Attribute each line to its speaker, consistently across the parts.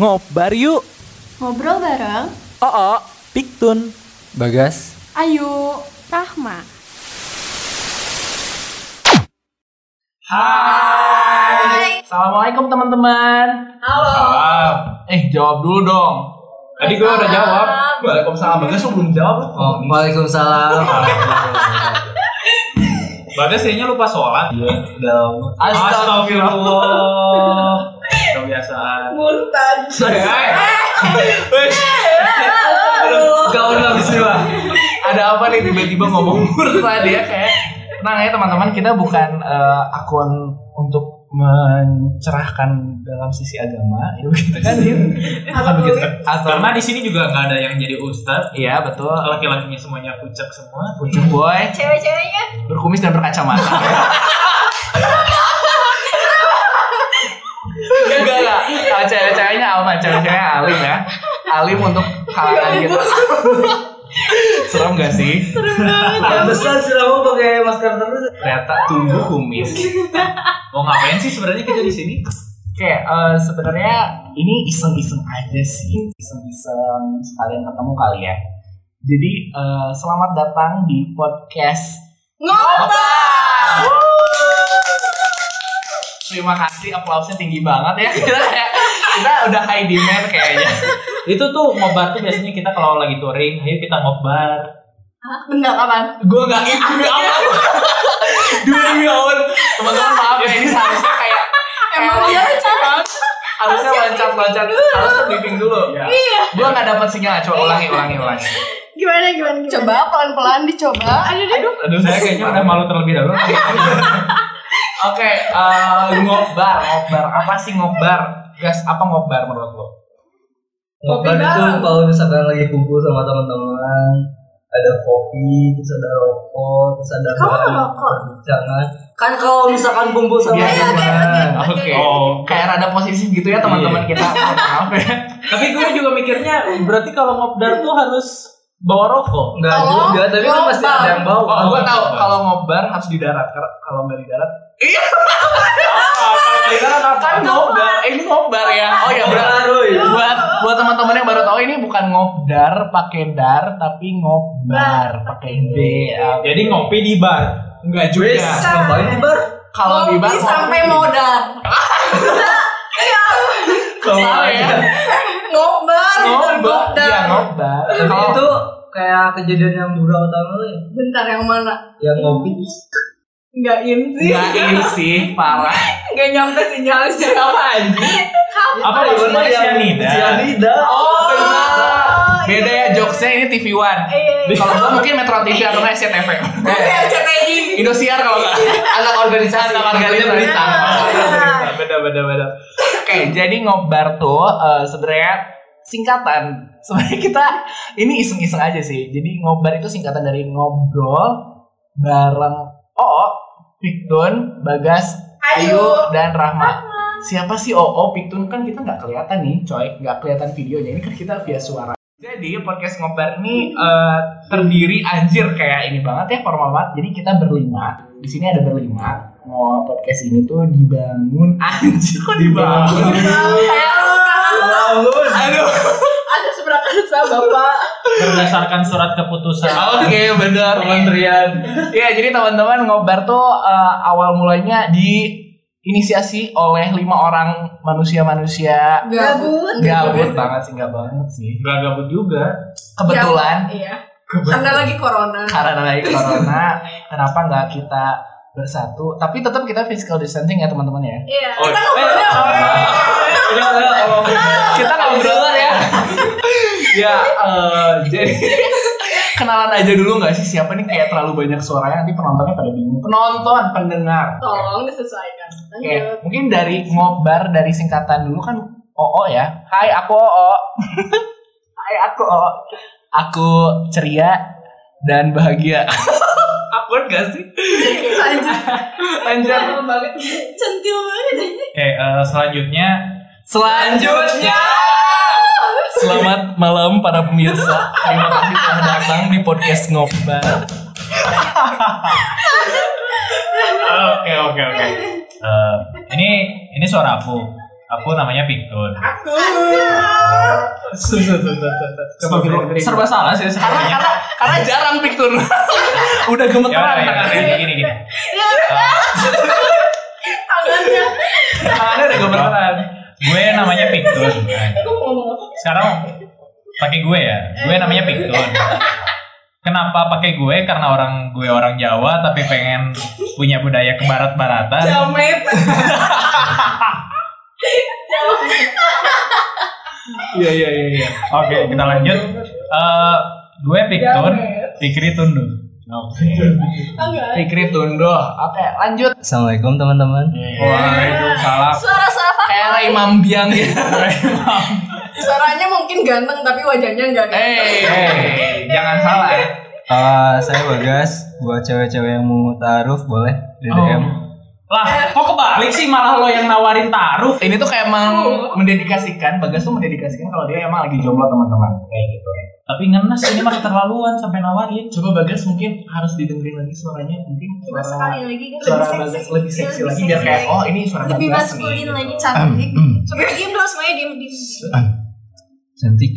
Speaker 1: Ngobar yuk.
Speaker 2: Ngobrol bareng
Speaker 1: Oo, Piktun.
Speaker 3: Bagas,
Speaker 2: Ayu
Speaker 4: Rahma.
Speaker 5: Hai. Assalamualaikum teman-teman.
Speaker 6: Salam.
Speaker 5: Eh jawab dulu dong.
Speaker 6: Tadi gue udah jawab. Waalaikumsalam. Bagas lu belum jawab lu.
Speaker 3: Waalaikumsalam.
Speaker 6: Bagas kayaknya lupa sholat. Iya. Dong. Astagfirullah. Kebiasaan. Muntaj. Wes.
Speaker 5: Eh, Gaun habis nih Bang. Ada apa nih tiba-tiba ngomong murtad ya kayak. Tenang ya teman-teman, kita bukan eh, akun untuk mencerahkan dalam sisi agama, ya gitu kan Din? Bukan begitu. Atau
Speaker 6: Karena di sini juga nggak ada yang jadi ustadz.
Speaker 5: Iya betul.
Speaker 6: Laki-lakinya semuanya pucek semua.
Speaker 5: Ujung boy
Speaker 2: Cewek-ceweknya
Speaker 5: berkumis dan berkacamata. Enggak lah, Nah, cewek-ceweknya Alma, cewek-ceweknya Alim ya. Alim untuk kalangan gitu. Serem gak sih? Serem banget. ya
Speaker 3: Pantesan sih kamu pakai masker terus.
Speaker 5: Ternyata tumbuh kumis.
Speaker 6: Mau ngapain sih sebenarnya kita di sini?
Speaker 5: Kayak eh, sebenarnya ini iseng-iseng aja sih, iseng-iseng sekalian ketemu kali ya. Jadi eh, selamat datang di podcast Ngobrol. Terima kasih, aplausnya tinggi banget ya. Kita, kayak- kita udah high demand kayaknya.
Speaker 6: Itu tuh ngobat tuh biasanya kita kalau lagi touring, ayo kita ngobat.
Speaker 2: Bentar kapan?
Speaker 5: Gue nggak ikut demi Ya Allah. Demi Allah, teman-teman maaf ya ini seharusnya kayak
Speaker 2: Emang
Speaker 3: iya?
Speaker 2: dia
Speaker 5: emang harusnya
Speaker 3: gitu.
Speaker 5: loncat-loncat harusnya briefing dulu. Iya. Gue nggak dapat sinyal, coba ulangi, ulangi, ulangi.
Speaker 4: Gimana gimana gimana?
Speaker 2: Coba pelan-pelan dicoba
Speaker 4: Aduh, aduh.
Speaker 6: Aduh, saya kayaknya udah malu terlebih dahulu.
Speaker 5: Oke, eh, ngobar, ngobar. Apa sih ngobar? Gas, apa ngobar menurut lo?
Speaker 3: Ngobrol itu kalau misalkan lagi kumpul sama teman-teman, ada kopi, terus ada rokok, terus ada
Speaker 4: Kamu
Speaker 3: bahan
Speaker 4: ngerokok?
Speaker 3: perbincangan. Kan kalau misalkan kumpul sama
Speaker 5: Iya,
Speaker 3: teman,
Speaker 5: Oke.
Speaker 6: Oh,
Speaker 5: Kayak rada posisi gitu ya teman-teman kita. Mohon Maaf ya.
Speaker 6: tapi gue juga mikirnya berarti kalau ngobdar tuh harus bawa rokok.
Speaker 3: enggak
Speaker 2: Kalau
Speaker 3: juga, tapi kan pasti ada yang bawa.
Speaker 5: Oh, gue tahu kalau ngobar harus di darat. Karena kalau nggak di darat, kan ngobar. Eh, ini ngobar ya. Oh ya benar.
Speaker 3: Roy.
Speaker 5: Buat buat teman-teman yang baru tahu ini bukan ngobdar pakai dar tapi ngobar pakai d. Ya,
Speaker 6: Jadi ngopi di bar.
Speaker 5: enggak
Speaker 3: Wes, ngapain nih bar?
Speaker 5: Kalau di bar ngopi.
Speaker 2: modal
Speaker 5: Salah ya.
Speaker 2: Ngobar
Speaker 5: Ngobar. Iya ngobar.
Speaker 3: Tapi
Speaker 5: Kalau
Speaker 3: itu kayak kejadian yang burau tahun lalu ya.
Speaker 2: Bentar yang mana?
Speaker 3: Yang ngopi terus
Speaker 2: Nggak ini sih
Speaker 5: Nggak ini sih parah.
Speaker 2: Nggak nyampe sinyalnya
Speaker 5: Apa anjing?
Speaker 6: Apa
Speaker 3: Apa
Speaker 6: itu
Speaker 3: yang-
Speaker 6: sianida?
Speaker 3: Sianida.
Speaker 5: Oh, benar. Beda ya jokesnya ini TV One. Kalau gua mungkin Metro TV atau nggak SCTV. Indosiar kalau nggak. Anak organisasi. Anak Iya. organisasi.
Speaker 3: berita.
Speaker 6: Ah, Beda beda beda.
Speaker 5: Oke, jadi ngobar tuh eh, sebenarnya singkatan. Sebenarnya kita ini iseng-iseng aja sih. Jadi ngobar itu singkatan dari ngobrol bareng Oo, Pikdon, Bagas, Ayu, dan Rahma. Siapa sih Oo, Pikdon kan kita nggak kelihatan nih, coy. Nggak kelihatan videonya. Ini kan kita via suara. Jadi podcast ngobar ini eh, terdiri anjir kayak ini banget ya formal banget. Jadi kita berlima. Di sini ada berlima. Mau podcast ini tuh dibangun anjir kok dibangun.
Speaker 2: Iya.
Speaker 3: Lalu
Speaker 5: Aduh.
Speaker 2: Ada seberapa Bapak
Speaker 6: Berdasarkan surat keputusan.
Speaker 5: Oke, benar.
Speaker 3: Kementerian
Speaker 5: Iya, jadi teman-teman ngobar tuh eh, awal mulanya diinisiasi oleh lima orang manusia-manusia
Speaker 2: Iya, Gabut
Speaker 5: gabut banget sih, nggak banget sih.
Speaker 6: Gak gabut juga.
Speaker 5: Kebetulan
Speaker 2: Iya Karena lagi corona
Speaker 5: karena lagi corona, kenapa nggak kita bersatu? Tapi tetap kita physical distancing ya teman-teman ya.
Speaker 2: Iya
Speaker 6: Oh,
Speaker 2: Kita
Speaker 6: eh,
Speaker 2: ngobrolnya
Speaker 6: Udah, udah, kalau-
Speaker 5: Kita ngobrolan ya. ya, eh, jadi kenalan aja dulu nggak sih siapa nih kayak terlalu banyak suaranya nanti penontonnya pada bingung. Penonton, pendengar.
Speaker 2: Tolong disesuaikan
Speaker 5: Oke, mungkin dari ngobar dari singkatan dulu kan OO ya. Hai, aku OO. Hai, aku OO. Aku ceria dan bahagia. Aku gak sih?
Speaker 2: Lanjut
Speaker 5: Lanjut.
Speaker 2: banget Centil banget
Speaker 6: Oke, eh, selanjutnya
Speaker 5: Selanjutnya. Selamat malam para pemirsa. Terima kasih telah datang di podcast ngobar.
Speaker 6: Ah, oke oke oke. Eh, ini ini suara aku. Aku namanya Piktun.
Speaker 7: Aku. Sudah, sudah, sudah, sudah. Coba beri- beri.
Speaker 5: serba salah sih karena karena karena jarang piktur udah
Speaker 6: Ya
Speaker 5: gemeteran
Speaker 6: udah, ya udah, gini gini gini.
Speaker 2: Iya. Tangannya.
Speaker 5: tangannya udah gemeteran
Speaker 6: Gue namanya Piktun.
Speaker 2: Aku mau ngomong apa?
Speaker 6: Sekarang pakai gue ya. Gue namanya Piktun. Kenapa pakai gue? Karena orang gue orang Jawa tapi pengen punya budaya ke barat-baratan.
Speaker 7: Jamet.
Speaker 6: Iya iya iya. iya. Oke, kita lanjut. Eh, gue Piktun, Fikri Tundu. Oke.
Speaker 2: Enggak.
Speaker 5: pikir tundo oke lanjut
Speaker 8: Assalamualaikum teman-teman.
Speaker 6: Waalaikumsalam.
Speaker 2: Suara-suara
Speaker 5: kayak Eh, Ray Mambiang gitu
Speaker 2: Suaranya mungkin ganteng tapi wajahnya
Speaker 5: Eh.
Speaker 2: enggak ganteng.
Speaker 5: hey, hey, jangan salah ya.
Speaker 8: Eh, saya Bagas. Buat cewek-cewek yang mau taruh boleh
Speaker 5: Oh.
Speaker 8: DDM.
Speaker 7: Lah, kok kebalik sih malah lo yang nawarin taruh?
Speaker 5: ini tuh kayak emang mendedikasikan Bagas tuh mendedikasikan kalau dia emang lagi jomblo teman-teman kayak gitu ya tapi ngenes ini masih terlaluan sampai nawarin coba Bagas mungkin harus didengerin lagi suaranya mungkin
Speaker 2: Coba sekali lagi kan
Speaker 5: suara
Speaker 2: lebih
Speaker 5: Bagas
Speaker 2: seksi.
Speaker 5: lebih seksi
Speaker 2: Lebih hmm.
Speaker 5: lagi biar kayak oh ini suara
Speaker 2: Lebih
Speaker 5: Bagas nih
Speaker 2: maskulin
Speaker 5: gitu.
Speaker 2: lagi cantik. Coba diem dulu semuanya diem diem.
Speaker 8: Cantik.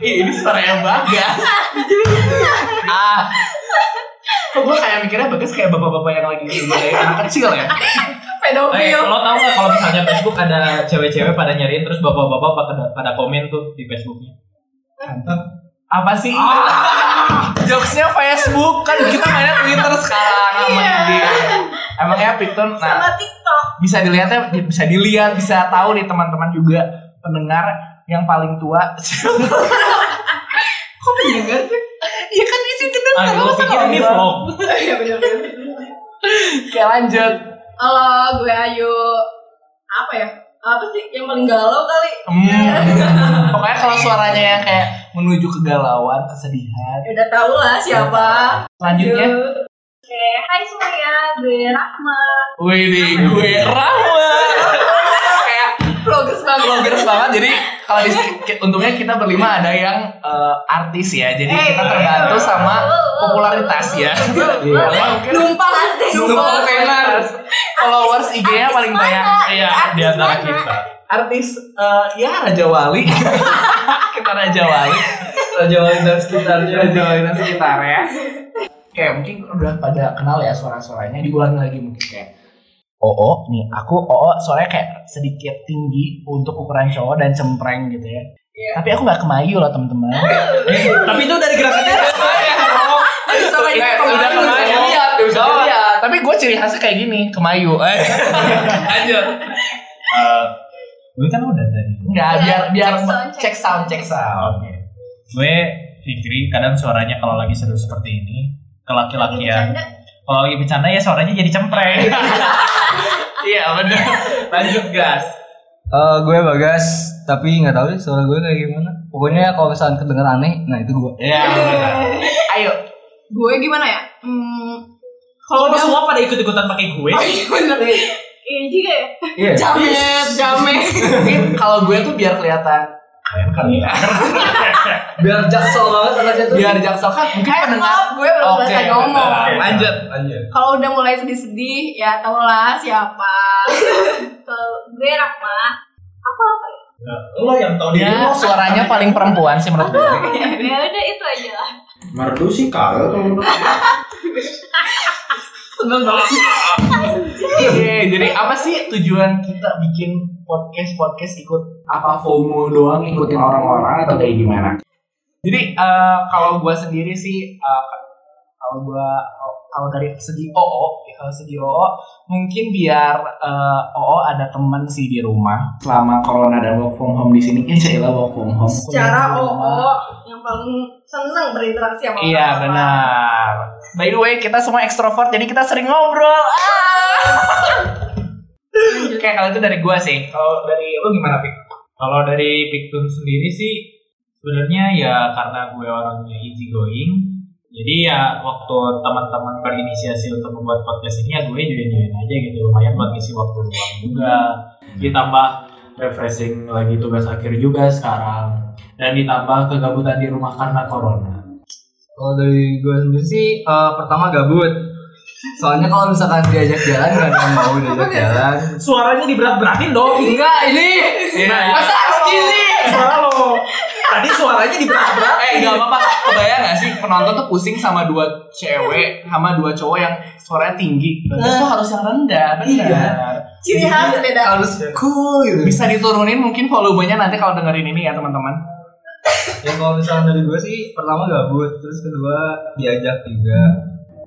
Speaker 5: Ih, ini suara yang Bagas ah kok gue kayak mikirnya Bagas kayak bapak-bapak yang lagi kayak anak kecil ya
Speaker 6: Eh,
Speaker 2: Pedofil.
Speaker 6: lo tau gak kalau misalnya Facebook ada cewek-cewek pada nyariin terus bapak-bapak pada, pada komen tuh di Facebooknya.
Speaker 5: apa sih
Speaker 2: Ah.
Speaker 5: jokesnya Facebook kan kita mainnya Twitter sekarang
Speaker 2: Iya.
Speaker 5: emang emangnya Pikton nah
Speaker 2: Sama TikTok.
Speaker 5: bisa dilihatnya bisa dilihat bisa tahu nih teman-teman juga pendengar yang paling tua kok pendengar sih ya kan itu kita
Speaker 6: Ah, lo pikir ini vlog?
Speaker 2: Iya benar-benar.
Speaker 5: Oke lanjut
Speaker 2: Halo, gue Ayu. Apa ya? Apa sih yang paling galau kali?
Speaker 5: Hmm. pokoknya kalau suaranya yang kayak menuju kegalauan kesedihan
Speaker 2: Ya udah tau lah siapa.
Speaker 5: lanjutnya
Speaker 9: Oke, hai semuanya, gue Rahma.
Speaker 5: Wih, di gue Rahma. Kayak
Speaker 2: Progres banget.
Speaker 5: vloggers Iya, banget. Jadi kalau di untungnya kita berlima ada yang eh, artis ya. Jadi
Speaker 2: Eh,
Speaker 5: kita terbantu sama popularitas ya. Iya.
Speaker 2: Numpang artis.
Speaker 5: Numpang tenar. Followers IG-nya paling banyak. Iya,
Speaker 6: di antara kita.
Speaker 5: artis eh, ya Raja Wali. kita Raja Wali.
Speaker 8: Raja Wali dan sekitarnya.
Speaker 5: Raja Wali dan ya. sekitarnya. Kayak mungkin udah pada kenal ya suara-suaranya. Diulangi lagi mungkin kayak Oo nih, aku Oo soalnya kayak sedikit tinggi untuk ukuran cowok dan cempreng gitu ya. Tapi aku nggak kemayu loh teman-teman. Iya,
Speaker 7: Tapi itu dari gerakannya.
Speaker 5: Bisa
Speaker 2: banyak kemayu.
Speaker 5: kan? Eh, udah kemayu.
Speaker 7: Bisa
Speaker 5: Iya, bisa dilihat. Tapi gue ciri khasnya kayak gini, kemayu. Eh, Lanjut.
Speaker 6: Eh, gue kan udah tadi.
Speaker 5: Enggak, biar biar
Speaker 2: Check sound,
Speaker 5: cek
Speaker 2: check
Speaker 5: sound, cek sound.
Speaker 6: Oke. Gue Fikri kadang suaranya kalau lagi seru seperti ini ke laki-lakian. Kalau lagi bercanda ya suaranya jadi cempreng.
Speaker 5: Iya, benar. Lanjut, gas.
Speaker 8: Eh, gue Bagas, tapi nggak tahu deh suara gue kayak gimana. Pokoknya kalau misalkan kedengeran aneh, nah itu gue.
Speaker 5: Iya, benar. Ayo.
Speaker 2: Gue gimana ya? Hmm,
Speaker 7: Kalau lo
Speaker 2: kalau udah
Speaker 7: semua pada ikut-ikutan pakai gue.
Speaker 2: bener Iya juga ya.
Speaker 8: Iya.
Speaker 2: Jamet, jamet.
Speaker 5: Mungkin kalau gue tuh biar kelihatan
Speaker 6: Keren kali ya.
Speaker 8: Biar jaksel banget anaknya tuh.
Speaker 5: biar jaksel kan mungkin
Speaker 2: Eh,
Speaker 5: pendengar
Speaker 2: maaf, gue belum
Speaker 5: Oke,
Speaker 2: selesai ngomong.
Speaker 6: bentar.
Speaker 5: lanjut
Speaker 8: Lanjut.
Speaker 2: Kalau udah mulai sedih-sedih, ya tau lah siapa. Kalau gue Rahma, aku apa ya?
Speaker 6: Nah,
Speaker 7: Lo yang tahu
Speaker 5: dia
Speaker 6: Ya.
Speaker 5: suaranya paling perempuan sih menurut gue
Speaker 2: Ya udah itu aja lah.
Speaker 10: Merdu sih kalau tuh.
Speaker 5: Oke, Iya, jadi apa sih tujuan kita bikin podcast podcast ikut apa FOMO doang ikutin orang-orang atau kayak gimana? Jadi eh, kalau gua sendiri sih eh, kalau gua kalau dari segi OO ya, kalau segi OO mungkin biar eh, OO ada teman sih di rumah selama corona dan work from home di sini insya Allah work from home.
Speaker 2: Secara OO yang paling seneng berinteraksi sama
Speaker 5: Iya
Speaker 2: orang-orang.
Speaker 5: benar. By the way kita semua ekstrovert jadi kita sering ngobrol. Ah. Oke kalau itu dari gua sih. Kalau dari lu gimana pik?
Speaker 6: Kalau dari Piktun sendiri sih sebenarnya ya karena gue orangnya easy going. Jadi ya waktu teman-teman berinisiasi untuk membuat podcast ini ya gue join-join aja gitu lumayan buat ngisi waktu luang juga. Ditambah refreshing lagi tugas akhir juga sekarang dan ditambah kegabutan di rumah karena corona.
Speaker 8: Kalau dari gue sendiri sih, eh, pertama gabut. Soalnya kalau misalkan diajak jalan nggak ada yang mau diajak jalan.
Speaker 7: Suaranya diberat-beratin dong.
Speaker 2: Enggak, ini.
Speaker 5: Iya.
Speaker 2: Masa harus gini?
Speaker 7: Suara lo. Tadi suaranya diberat-beratin.
Speaker 5: Eh nggak apa-apa Kebayang gak sih Penonton tuh pusing sama dua cewek Sama dua cowok yang suaranya tinggi Bagus tuh harus yang rendah Bener
Speaker 2: Ciri khas beda.
Speaker 5: Harus cool gitu. Iya. Bisa diturunin mungkin volumenya nanti kalau dengerin ini ya teman-teman
Speaker 8: Ya kalau misalkan dari gue sih pertama gabut, terus kedua diajak juga.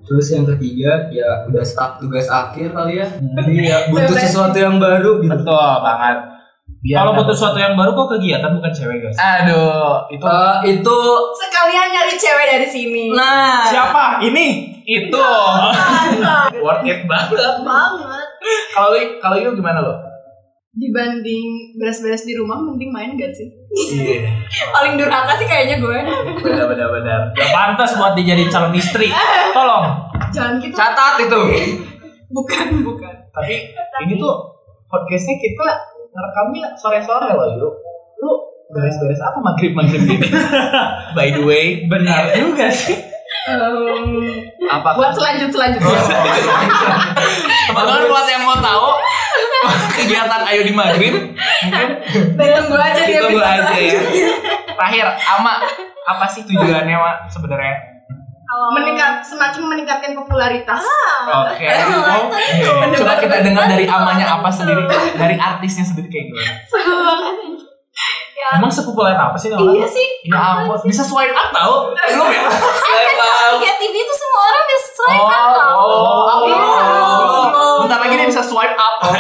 Speaker 8: Terus yang ketiga ya udah stuck tugas akhir kali ya. Jadi ya butuh
Speaker 2: Bebesin.
Speaker 8: sesuatu yang baru gitu.
Speaker 5: Betul banget Biar
Speaker 6: Kalau
Speaker 5: dapat-
Speaker 6: butuh sesuatu yang baru kok kegiatan bukan cewek guys.
Speaker 5: Aduh Itu
Speaker 8: Eh, itu
Speaker 2: Sekalian nyari cewek dari sini.
Speaker 5: Nah
Speaker 7: Siapa? Ini.
Speaker 5: Itu Worth it banget
Speaker 2: banget.
Speaker 5: Kalau lu kalau lu gimana lo?
Speaker 2: Dibanding beres-beres di rumah mending main gak sih?
Speaker 8: Iya.
Speaker 2: Paling durhaka sih kayaknya gue.
Speaker 5: Benar-benar
Speaker 6: Gak pantas buat dijadiin calon istri. Tolong.
Speaker 2: Jangan gitu.
Speaker 5: Catat itu
Speaker 2: Bukan, bukan.
Speaker 5: Tapi ini tuh podcastnya kita ngerekamnya sore-sore loh yuk Lu beres-beres apa maghrib-maghrib gini? By the way Benar juga sih
Speaker 2: Em,
Speaker 5: Apa
Speaker 2: buat selanjut
Speaker 5: Oh.
Speaker 2: selanjutnya.
Speaker 5: Teman-teman buat yang mau tahu kegiatan Ayo di Maghrib mungkin
Speaker 2: Tunggu aja dia
Speaker 5: ditunggu aja ya. Terakhir, Ama, apa sih tujuannya Mak sebenarnya?
Speaker 2: Meningkat, semakin meningkatkan popularitas.
Speaker 9: Ah,
Speaker 5: Oke. Oke. Coba kita dengar dari Amanya apa sendiri, dari artisnya sendiri kayak gimana?
Speaker 2: Seru banget.
Speaker 6: Emang sepopuler apa sih orang?
Speaker 9: Iya sih.
Speaker 5: Ya ampun, bisa swipe up tau? Belum ya? Swipe up.
Speaker 9: TV itu semua orang bisa
Speaker 5: Oh,
Speaker 9: swipe up tau.
Speaker 5: oh, oh,
Speaker 9: Iya.
Speaker 5: oh. Bentar lagi dia bisa swipe up. Oh,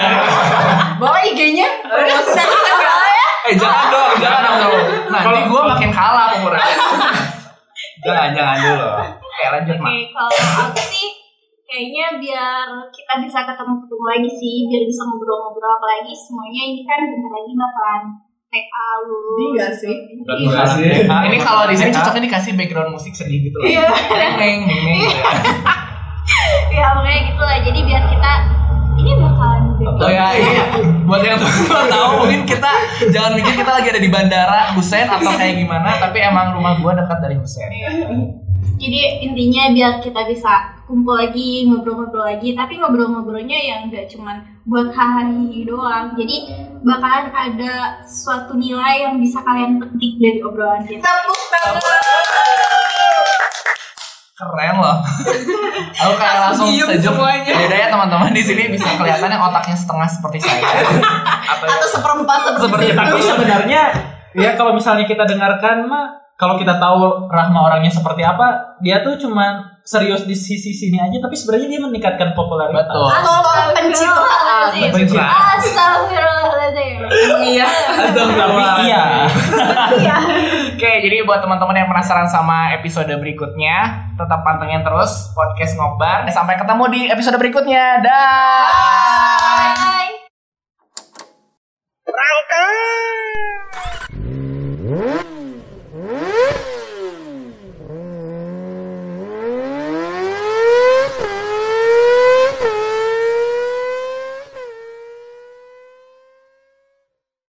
Speaker 2: Bawa IG-nya. Promosi dari sana.
Speaker 5: Eh jangan dong, jangan dong. Nanti
Speaker 6: Kalau-
Speaker 5: gue makin kalah pemurahnya. jangan, jangan dulu. Oke lanjut Mak.
Speaker 9: Oke, kalau aku sih kayaknya biar kita bisa ketemu ketemu lagi sih, biar bisa ngobrol-ngobrol apalagi semuanya ini kan bentar lagi bakalan take out lulus.
Speaker 2: Ini nggak sih?
Speaker 6: Bukan
Speaker 9: Iya.
Speaker 6: orang.
Speaker 8: Kasih.
Speaker 5: Nah, ini kalau di sini
Speaker 6: Ya.
Speaker 5: cocoknya dikasih background musik sedih gitu loh.
Speaker 9: Iya.
Speaker 5: Neng, neng, neng.
Speaker 9: Ya pokoknya gitu lah. Jadi biar kita ini bakalan
Speaker 5: Oh ya, ini buat yang belum tahu mungkin kita jangan mikir kita lagi ada di bandara Husein atau kayak gimana, tapi emang rumah gua dekat dari Husein.
Speaker 9: Jadi intinya biar kita bisa kumpul lagi, ngobrol-ngobrol lagi, tapi ngobrol-ngobrolnya yang nggak cuman buat hahaha doang. Jadi bakalan ada suatu nilai yang bisa kalian petik dari obrolan kita.
Speaker 2: Tepuk tangan.
Speaker 5: Keren loh. Aku kayak langsung sejuk. Beda ya teman-teman di sini bisa kelihatan yang otaknya setengah seperti saya. Atau
Speaker 2: Atau seperempat seperti
Speaker 5: seperti
Speaker 2: itu.
Speaker 6: Tapi sebenarnya ya kalau misalnya kita dengarkan mah kalau kita tahu Rahma orangnya seperti apa, dia tuh cuman serius di sisi sini aja tapi sebenarnya dia meningkatkan popularitas.
Speaker 5: betul.
Speaker 2: Tolong pencitraan.
Speaker 5: Pencitraan.
Speaker 9: Astagfirullahaladzim.
Speaker 2: Iya.
Speaker 6: Tapi iya.
Speaker 5: Oke, jadi buat teman-teman yang penasaran sama episode berikutnya, tetap pantengin terus podcast Ngobar. Sampai ketemu di episode berikutnya. Dah.